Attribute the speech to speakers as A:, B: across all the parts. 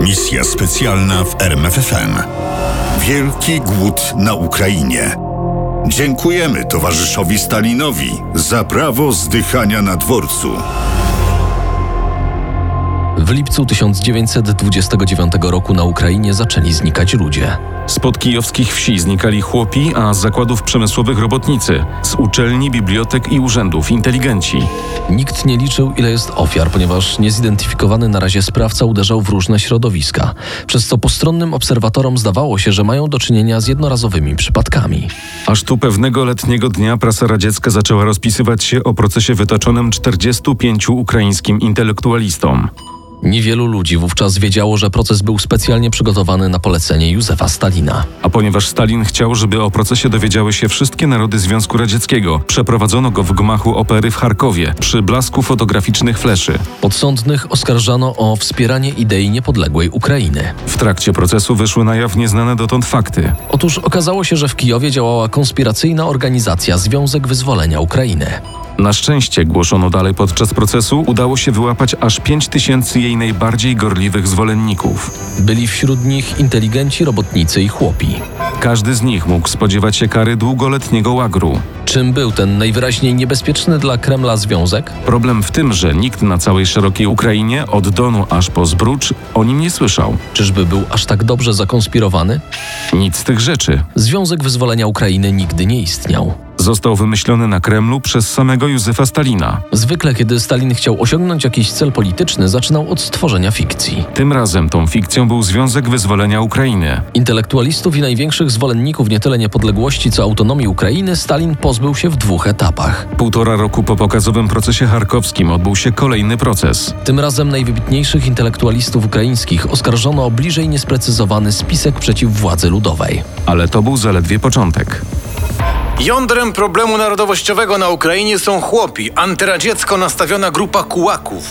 A: Misja specjalna w RMFFM. Wielki głód na Ukrainie. Dziękujemy towarzyszowi Stalinowi za prawo zdychania na dworcu.
B: W lipcu 1929 roku na Ukrainie zaczęli znikać ludzie.
C: Spod kijowskich wsi znikali chłopi, a z zakładów przemysłowych robotnicy, z uczelni, bibliotek i urzędów inteligenci.
B: Nikt nie liczył, ile jest ofiar, ponieważ niezidentyfikowany na razie sprawca uderzał w różne środowiska, przez co postronnym obserwatorom zdawało się, że mają do czynienia z jednorazowymi przypadkami.
C: Aż tu pewnego letniego dnia prasa radziecka zaczęła rozpisywać się o procesie wytoczonym 45 ukraińskim intelektualistom.
B: Niewielu ludzi wówczas wiedziało, że proces był specjalnie przygotowany na polecenie Józefa Stalina.
C: A ponieważ Stalin chciał, żeby o procesie dowiedziały się wszystkie narody Związku Radzieckiego, przeprowadzono go w gmachu opery w Charkowie przy blasku fotograficznych fleszy.
B: Podsądnych oskarżano o wspieranie idei niepodległej Ukrainy.
C: W trakcie procesu wyszły na jaw nieznane dotąd fakty.
B: Otóż okazało się, że w Kijowie działała konspiracyjna organizacja Związek Wyzwolenia Ukrainy.
C: Na szczęście, głoszono dalej podczas procesu, udało się wyłapać aż 5 tysięcy jej najbardziej gorliwych zwolenników.
B: Byli wśród nich inteligenci, robotnicy i chłopi.
C: Każdy z nich mógł spodziewać się kary długoletniego łagru.
B: Czym był ten najwyraźniej niebezpieczny dla Kremla związek?
C: Problem w tym, że nikt na całej szerokiej Ukrainie, od Donu aż po Zbrucz, o nim nie słyszał.
B: Czyżby był aż tak dobrze zakonspirowany?
C: Nic z tych rzeczy.
B: Związek Wyzwolenia Ukrainy nigdy nie istniał.
C: Został wymyślony na Kremlu przez samego Józefa Stalina.
B: Zwykle, kiedy Stalin chciał osiągnąć jakiś cel polityczny, zaczynał od stworzenia fikcji.
C: Tym razem tą fikcją był Związek Wyzwolenia Ukrainy.
B: Intelektualistów i największych zwolenników nie tyle niepodległości, co autonomii Ukrainy Stalin pozbył się w dwóch etapach.
C: Półtora roku po pokazowym procesie charkowskim odbył się kolejny proces.
B: Tym razem najwybitniejszych intelektualistów ukraińskich oskarżono o bliżej niesprecyzowany spisek przeciw władzy ludowej.
C: Ale to był zaledwie początek.
D: Jądrem problemu narodowościowego na Ukrainie są chłopi, antyradziecko nastawiona grupa kułaków.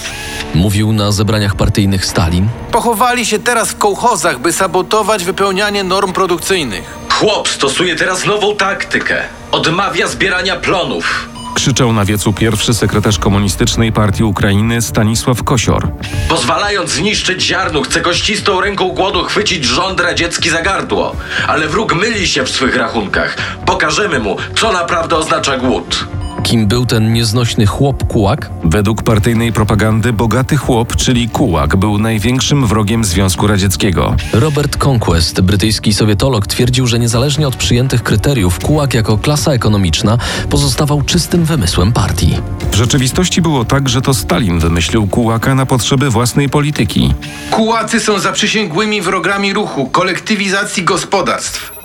B: Mówił na zebraniach partyjnych Stalin,
D: Pochowali się teraz w kołchozach, by sabotować wypełnianie norm produkcyjnych.
E: Chłop stosuje teraz nową taktykę. Odmawia zbierania plonów.
C: Krzyczał na wiecu pierwszy sekretarz Komunistycznej Partii Ukrainy Stanisław Kosior.
E: Pozwalając zniszczyć ziarno, chce kościstą ręką głodu chwycić rząd radziecki za gardło. Ale wróg myli się w swych rachunkach. Pokażemy mu, co naprawdę oznacza głód.
B: kim był ten nieznośny chłop kułak,
C: Według partyjnej propagandy bogaty chłop, czyli Kułak, był największym wrogiem Związku Radzieckiego.
B: Robert Conquest, brytyjski sowietolog, twierdził, że niezależnie od przyjętych kryteriów, Kułak jako klasa ekonomiczna pozostawał czystym wymysłem partii.
C: W rzeczywistości było tak, że to Stalin wymyślił Kułaka na potrzeby własnej polityki.
D: Kułacy są zaprzysięgłymi wrogami ruchu, kolektywizacji gospodarstw.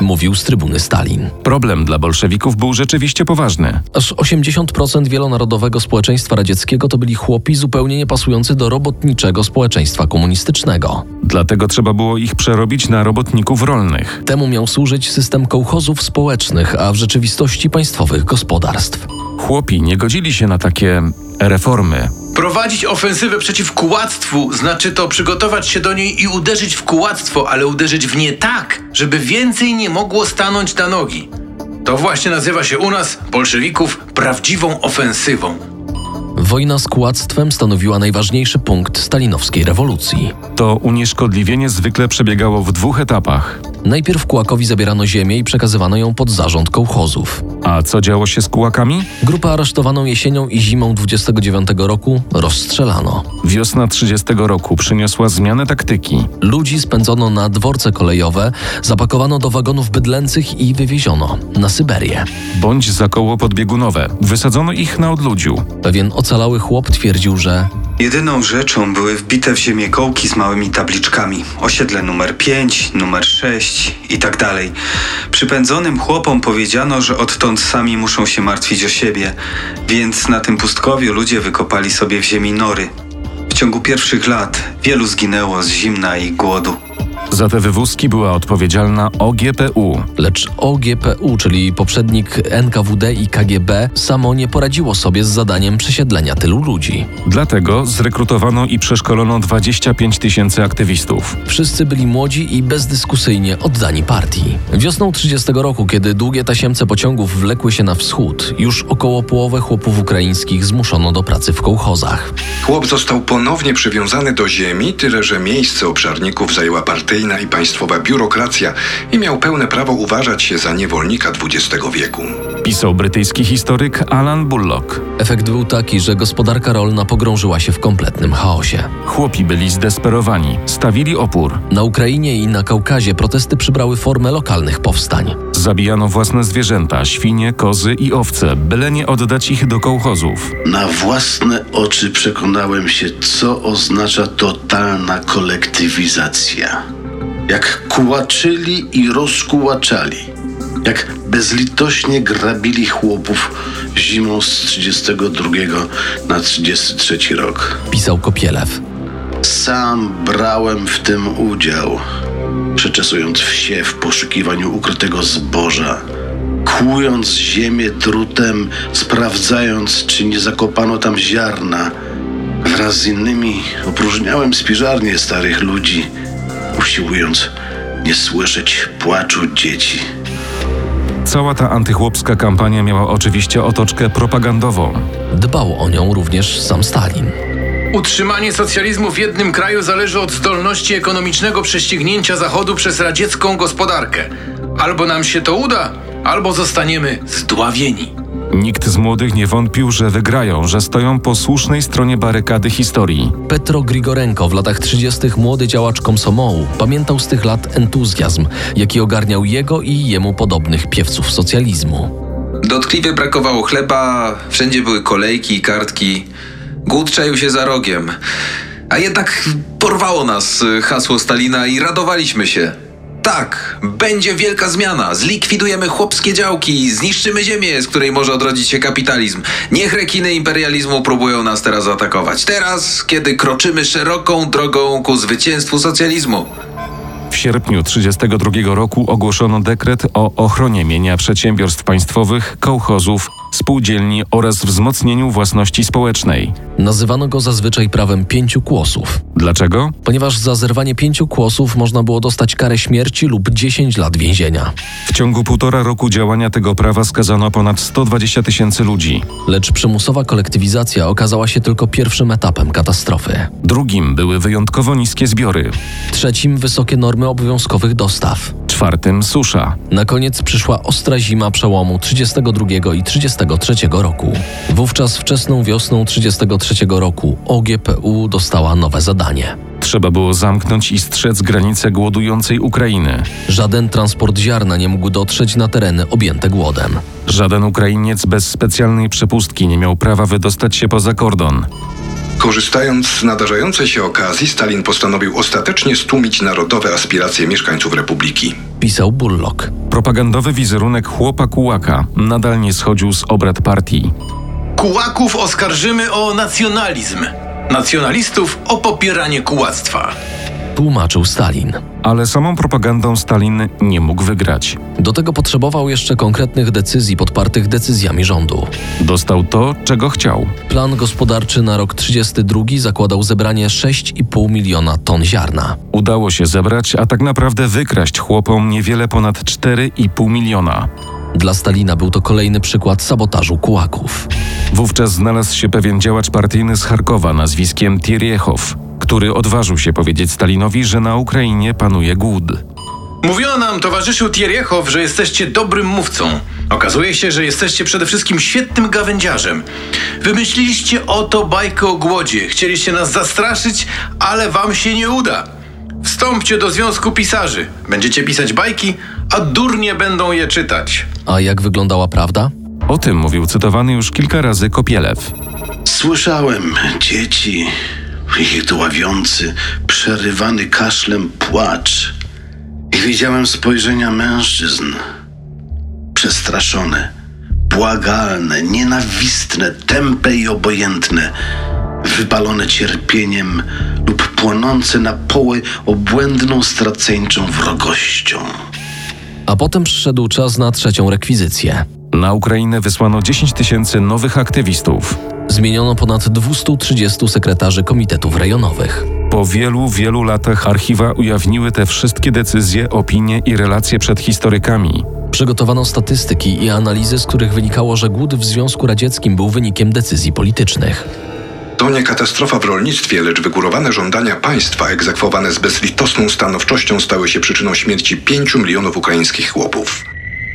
B: Mówił z trybuny Stalin.
C: Problem dla bolszewików był rzeczywiście poważny.
B: Aż 80% wielonarodowego społeczeństwa radzieckiego to byli chłopi zupełnie niepasujący do robotniczego społeczeństwa komunistycznego.
C: Dlatego trzeba było ich przerobić na robotników rolnych.
B: Temu miał służyć system kołchozów społecznych, a w rzeczywistości państwowych gospodarstw.
C: Chłopi nie godzili się na takie reformy.
D: Prowadzić ofensywę przeciw kułactwu znaczy to przygotować się do niej i uderzyć w kułactwo, ale uderzyć w nie tak, żeby więcej nie mogło stanąć na nogi. To właśnie nazywa się u nas, bolszewików, prawdziwą ofensywą.
B: Wojna z kułactwem stanowiła najważniejszy punkt stalinowskiej rewolucji.
C: To unieszkodliwienie zwykle przebiegało w dwóch etapach.
B: Najpierw Kułakowi zabierano ziemię i przekazywano ją pod zarząd kołchozów.
C: A co działo się z Kułakami?
B: Grupę aresztowaną jesienią i zimą 29 roku rozstrzelano.
C: Wiosna 30 roku przyniosła zmianę taktyki.
B: Ludzi spędzono na dworce kolejowe, zapakowano do wagonów bydlęcych i wywieziono na Syberię.
C: Bądź za koło podbiegunowe. Wysadzono ich na odludziu.
B: Pewien ocalały chłop twierdził, że
F: Jedyną rzeczą były wbite w ziemię kołki z małymi tabliczkami. Osiedle numer 5, numer 6 i tak dalej. Przypędzonym chłopom powiedziano, że odtąd sami muszą się martwić o siebie, więc na tym pustkowiu ludzie wykopali sobie w ziemi nory. W ciągu pierwszych lat wielu zginęło z zimna i głodu.
C: Za te wywózki była odpowiedzialna OGPU.
B: Lecz OGPU, czyli poprzednik NKWD i KGB, samo nie poradziło sobie z zadaniem przesiedlenia tylu ludzi.
C: Dlatego zrekrutowano i przeszkolono 25 tysięcy aktywistów.
B: Wszyscy byli młodzi i bezdyskusyjnie oddani partii. Wiosną 30 roku, kiedy długie tasiemce pociągów wlekły się na wschód, już około połowę chłopów ukraińskich zmuszono do pracy w kołchozach.
G: Chłop został ponownie przywiązany do ziemi, tyle że miejsce obszarników zajęła partyjna i państwowa biurokracja i miał pełne prawo uważać się za niewolnika XX wieku.
C: Pisał brytyjski historyk Alan Bullock.
B: Efekt był taki, że gospodarka rolna pogrążyła się w kompletnym chaosie.
C: Chłopi byli zdesperowani, stawili opór,
B: Na Ukrainie i na Kaukazie protesty przybrały formę lokalnych powstań.
C: zabijano własne zwierzęta, świnie, kozy i owce, byle nie oddać ich do kołchozów.
H: Na własne oczy przekonałem się, co oznacza totalna kolektywizacja. Jak kułaczyli i rozkułaczali. Jak bezlitośnie grabili chłopów zimą z 32 na 33 rok.
B: Pisał Kopielew.
H: Sam brałem w tym udział, przeczesując wsie w poszukiwaniu ukrytego zboża, kłując ziemię drutem, sprawdzając, czy nie zakopano tam ziarna. Wraz z innymi opróżniałem spiżarnię starych ludzi, usiłując nie słyszeć płaczu dzieci.
C: Cała ta antychłopska kampania miała oczywiście otoczkę propagandową.
B: Dbał o nią również sam Stalin.
D: Utrzymanie socjalizmu w jednym kraju zależy od zdolności ekonomicznego prześcignięcia Zachodu przez radziecką gospodarkę. Albo nam się to uda, albo zostaniemy zdławieni.
C: Nikt z młodych nie wątpił, że wygrają, że stoją po słusznej stronie barykady historii.
B: Petro Grigorenko w latach 30. młody działacz komsomołu pamiętał z tych lat entuzjazm, jaki ogarniał jego i jemu podobnych piewców socjalizmu.
E: Dotkliwie brakowało chleba, wszędzie były kolejki i kartki. Głód czaił się za rogiem. A jednak porwało nas y, hasło Stalina i radowaliśmy się. Tak, będzie wielka zmiana. Zlikwidujemy chłopskie działki, zniszczymy ziemię, z której może odrodzić się kapitalizm. Niech rekiny imperializmu próbują nas teraz atakować. Teraz, kiedy kroczymy szeroką drogą ku zwycięstwu socjalizmu.
C: W sierpniu 1932 roku ogłoszono dekret o ochronie mienia przedsiębiorstw państwowych, kołchozów, spółdzielni oraz wzmocnieniu własności społecznej.
B: Nazywano go zazwyczaj prawem pięciu kłosów,
C: Dlaczego?
B: ponieważ za zerwanie pięciu kłosów można było dostać karę śmierci lub 10 lat więzienia.
C: W ciągu półtora roku działania tego prawa skazano ponad 120 tysięcy ludzi.
B: Lecz przymusowa kolektywizacja okazała się tylko pierwszym etapem katastrofy.
C: Drugim były wyjątkowo niskie zbiory,
B: Trzecim wysokie normy obowiązkowych dostaw.
C: czwartym susza.
B: Na koniec przyszła ostra zima przełomu 32 i 33 roku. Wówczas wczesną wiosną 33 roku OGPU dostała nowe zadanie.
C: Trzeba było zamknąć i strzec granice głodującej Ukrainy.
B: Żaden transport ziarna nie mógł dotrzeć na tereny objęte głodem.
C: Żaden Ukrainiec bez specjalnej przepustki nie miał prawa wydostać się poza kordon.
G: Korzystając z nadarzającej się okazji, Stalin postanowił ostatecznie stłumić narodowe aspiracje mieszkańców republiki.
B: Pisał Bullock.
C: Propagandowy wizerunek chłopa kułaka nadal nie schodził z obrad partii.
D: Kułaków oskarżymy o nacjonalizm, nacjonalistów o popieranie kułactwa.
B: Tłumaczył Stalin.
C: Ale samą propagandą Stalin nie mógł wygrać.
B: Do tego potrzebował jeszcze konkretnych decyzji podpartych decyzjami rządu.
C: Dostał to, czego chciał.
B: Plan gospodarczy na rok 32 zakładał zebranie 6,5 miliona ton ziarna.
C: Udało się zebrać, a tak naprawdę wykraść chłopom niewiele ponad 4,5 miliona.
B: Dla Stalina był to kolejny przykład sabotażu kułaków.
C: Wówczas znalazł się pewien działacz partyjny z Charkowa nazwiskiem Tieriechow, który odważył się powiedzieć Stalinowi, że na Ukrainie panuje głód.
D: Mówiono nam, towarzyszu Tieriechow, że jesteście dobrym mówcą. Okazuje się, że jesteście przede wszystkim świetnym gawędziarzem. Wymyśliliście oto bajkę o głodzie. Chcieliście nas zastraszyć, ale wam się nie uda. Wstąpcie do Związku Pisarzy. Będziecie pisać bajki, a durnie będą je czytać.
B: A jak wyglądała prawda?
C: O tym mówił cytowany już kilka razy Kopielew.
H: Słyszałem dzieci, ich dławiący, przerywany kaszlem płacz. I widziałem spojrzenia mężczyzn. Przestraszone, błagalne, nienawistne, tępe i obojętne.
I: wypalone cierpieniem lub płonące na poły obłędną straceńczą wrogością.
B: A potem przyszedł czas na trzecią rekwizycję.
C: Na Ukrainę wysłano 10 tysięcy nowych aktywistów.
B: Zmieniono ponad 230 sekretarzy komitetów rejonowych.
C: Po wielu, wielu latach archiwa ujawniły te wszystkie decyzje, opinie i relacje przed historykami.
B: Przygotowano statystyki i analizy, z których wynikało, że głód w Związku Radzieckim był wynikiem decyzji politycznych.
G: To nie katastrofa w rolnictwie, lecz wygórowane żądania państwa egzekwowane z bezlitosną stanowczością stały się przyczyną śmierci 5 milionów ukraińskich chłopów.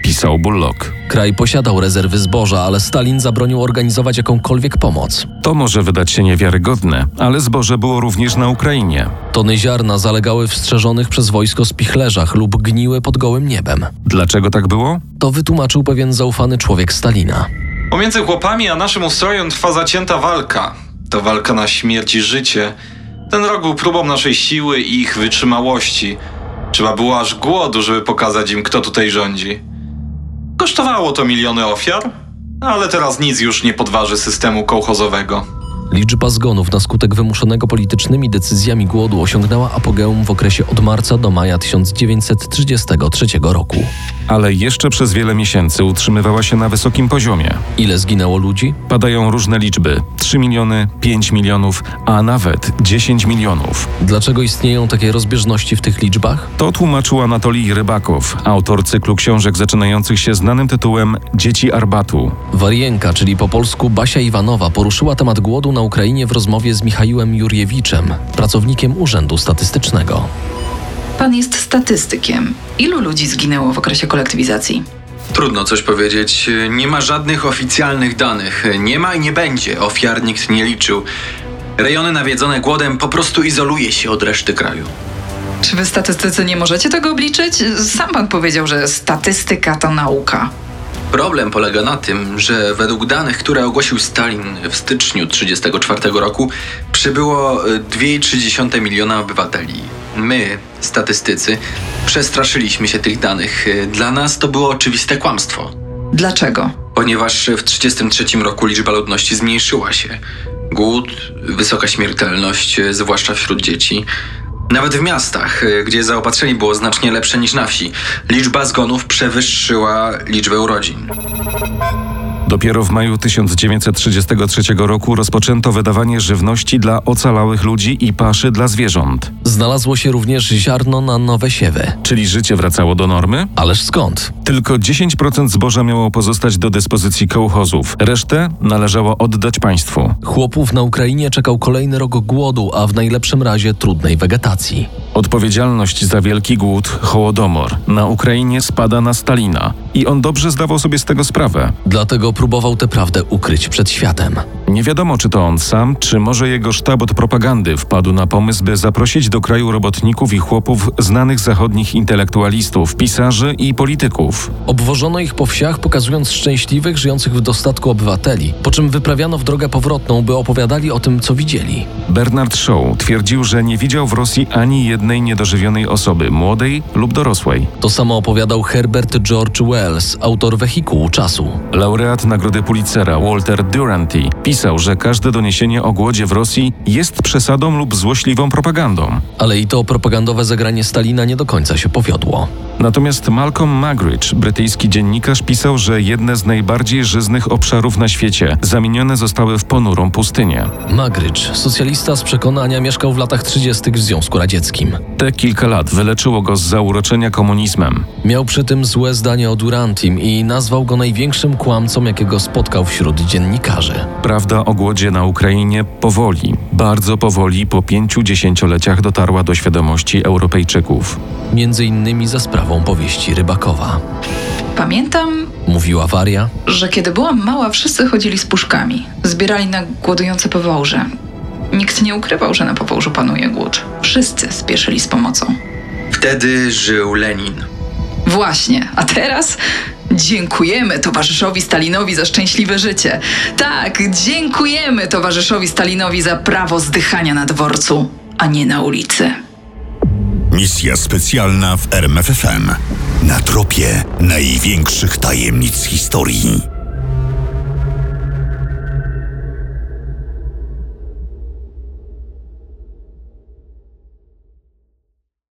C: Pisał Bullock.
B: Kraj posiadał rezerwy zboża, ale Stalin zabronił organizować jakąkolwiek pomoc.
C: To może wydać się niewiarygodne, ale zboże było również na Ukrainie.
B: Tony ziarna zalegały w strzeżonych przez wojsko spichlerzach lub gniły pod gołym niebem.
C: Dlaczego tak było?
B: To wytłumaczył pewien zaufany człowiek Stalina.
J: Pomiędzy chłopami a naszym ustrojem trwa zacięta walka. To walka na śmierć i życie. Ten rok był próbą naszej siły i ich wytrzymałości. Trzeba było aż głodu, żeby pokazać im, kto tutaj rządzi. Kosztowało to miliony ofiar, ale teraz nic już nie podważy systemu kołchozowego.
B: Liczba zgonów na skutek wymuszonego politycznymi decyzjami głodu osiągnęła apogeum w okresie od marca do maja 1933 roku.
C: Ale jeszcze przez wiele miesięcy utrzymywała się na wysokim poziomie.
B: Ile zginęło ludzi?
C: Padają różne liczby: 3 miliony, 5 milionów, a nawet 10 milionów.
B: Dlaczego istnieją takie rozbieżności w tych liczbach?
C: To tłumaczył Anatolij Rybakow, autor cyklu książek zaczynających się znanym tytułem Dzieci Arbatu.
B: Warienka, czyli po polsku Basia Iwanowa, poruszyła temat głodu na Ukrainie w rozmowie z Michałem Juriewiczem, pracownikiem Urzędu Statystycznego.
H: Pan jest statystykiem. Ilu ludzi zginęło w okresie kolektywizacji?
D: Trudno coś powiedzieć. Nie ma żadnych oficjalnych danych. Nie ma i nie będzie. Ofiar nikt nie liczył. Rejony nawiedzone głodem po prostu izoluje się od reszty kraju.
H: Czy wy statystycy nie możecie tego obliczyć? Sam pan powiedział, że statystyka to nauka.
D: Problem polega na tym, że według danych, które ogłosił Stalin w styczniu 1934 roku, przybyło y, 2,3 miliona obywateli. My, statystycy, przestraszyliśmy się tych danych. Y, Dla nas to było oczywiste kłamstwo.
H: Dlaczego?
D: Ponieważ w 1933 roku liczba ludności zmniejszyła się. Głód, wysoka śmiertelność, y, zwłaszcza wśród dzieci. Nawet w miastach, y, gdzie zaopatrzenie było znacznie lepsze niż na wsi, liczba zgonów przewyższyła liczbę urodzin.
C: Dopiero w maju 1933 roku rozpoczęto wydawanie żywności dla ocalałych ludzi i paszy dla zwierząt.
B: Znalazło się również ziarno na nowe siewy.
C: Czyli życie wracało do normy?
B: Ależ skąd?
C: Tylko 10% zboża miało pozostać do dyspozycji kołchozów, resztę należało oddać państwu.
B: Chłopów na Ukrainie czekał kolejny rok głodu, a w najlepszym razie trudnej wegetacji.
C: Odpowiedzialność za wielki głód, hołodomor na Ukrainie spada na Stalina i on dobrze zdawał sobie z tego sprawę.
B: Dlatego próbował tę prawdę ukryć przed światem.
C: Nie wiadomo, czy to on sam, czy może jego sztab od propagandy wpadł na pomysł, by zaprosić do kraju robotników i chłopów znanych zachodnich intelektualistów, pisarzy i polityków.
B: Obwożono ich po wsiach, pokazując szczęśliwych, żyjących w dostatku obywateli, po czym wyprawiano w drogę powrotną, by opowiadali o tym, co widzieli.
C: Bernard Shaw twierdził, że nie widział w Rosji ani jednej niedożywionej osoby, młodej lub dorosłej.
B: To samo opowiadał Herbert George Wells, autor Wehikułu Czasu.
C: Laureat Nagrody Pulitzera Walter Duranty pisał, że każde doniesienie o głodzie w Rosji jest przesadą lub złośliwą propagandą.
B: Ale i to propagandowe zagranie Stalina nie do końca się powiodło.
C: Natomiast Malcolm Magridge, brytyjski dziennikarz, pisał, że jedne z najbardziej żyznych obszarów na świecie zamienione zostały w ponurą pustynię.
B: Magridge, socjalista z przekonania, mieszkał w latach 30. w Związku Radzieckim.
C: Te kilka lat wyleczyło go z zauroczenia komunizmem.
B: Miał przy tym złe zdanie o Durantim i nazwał go największym kłamcą, jakiego spotkał wśród dziennikarzy.
C: Prawda o głodzie na Ukrainie powoli, bardzo powoli po pięciu dziesięcioleciach dotarła do świadomości Europejczyków.
B: Między innymi za sprawą powieści Rybakowa.
H: Pamiętam,
B: Mówiła Waria,
H: że kiedy byłam mała, wszyscy chodzili z puszkami. Zbierali na głodujące powołże. Nikt nie ukrywał, że na powołżu panuje głód. Wszyscy spieszyli z pomocą.
D: Wtedy żył Lenin.
H: Właśnie, a teraz dziękujemy towarzyszowi Stalinowi za szczęśliwe życie. Tak, dziękujemy towarzyszowi Stalinowi za prawo zdychania na dworcu, a nie na ulicy.
A: Misja specjalna w RMFFM. Na tropie największych tajemnic historii.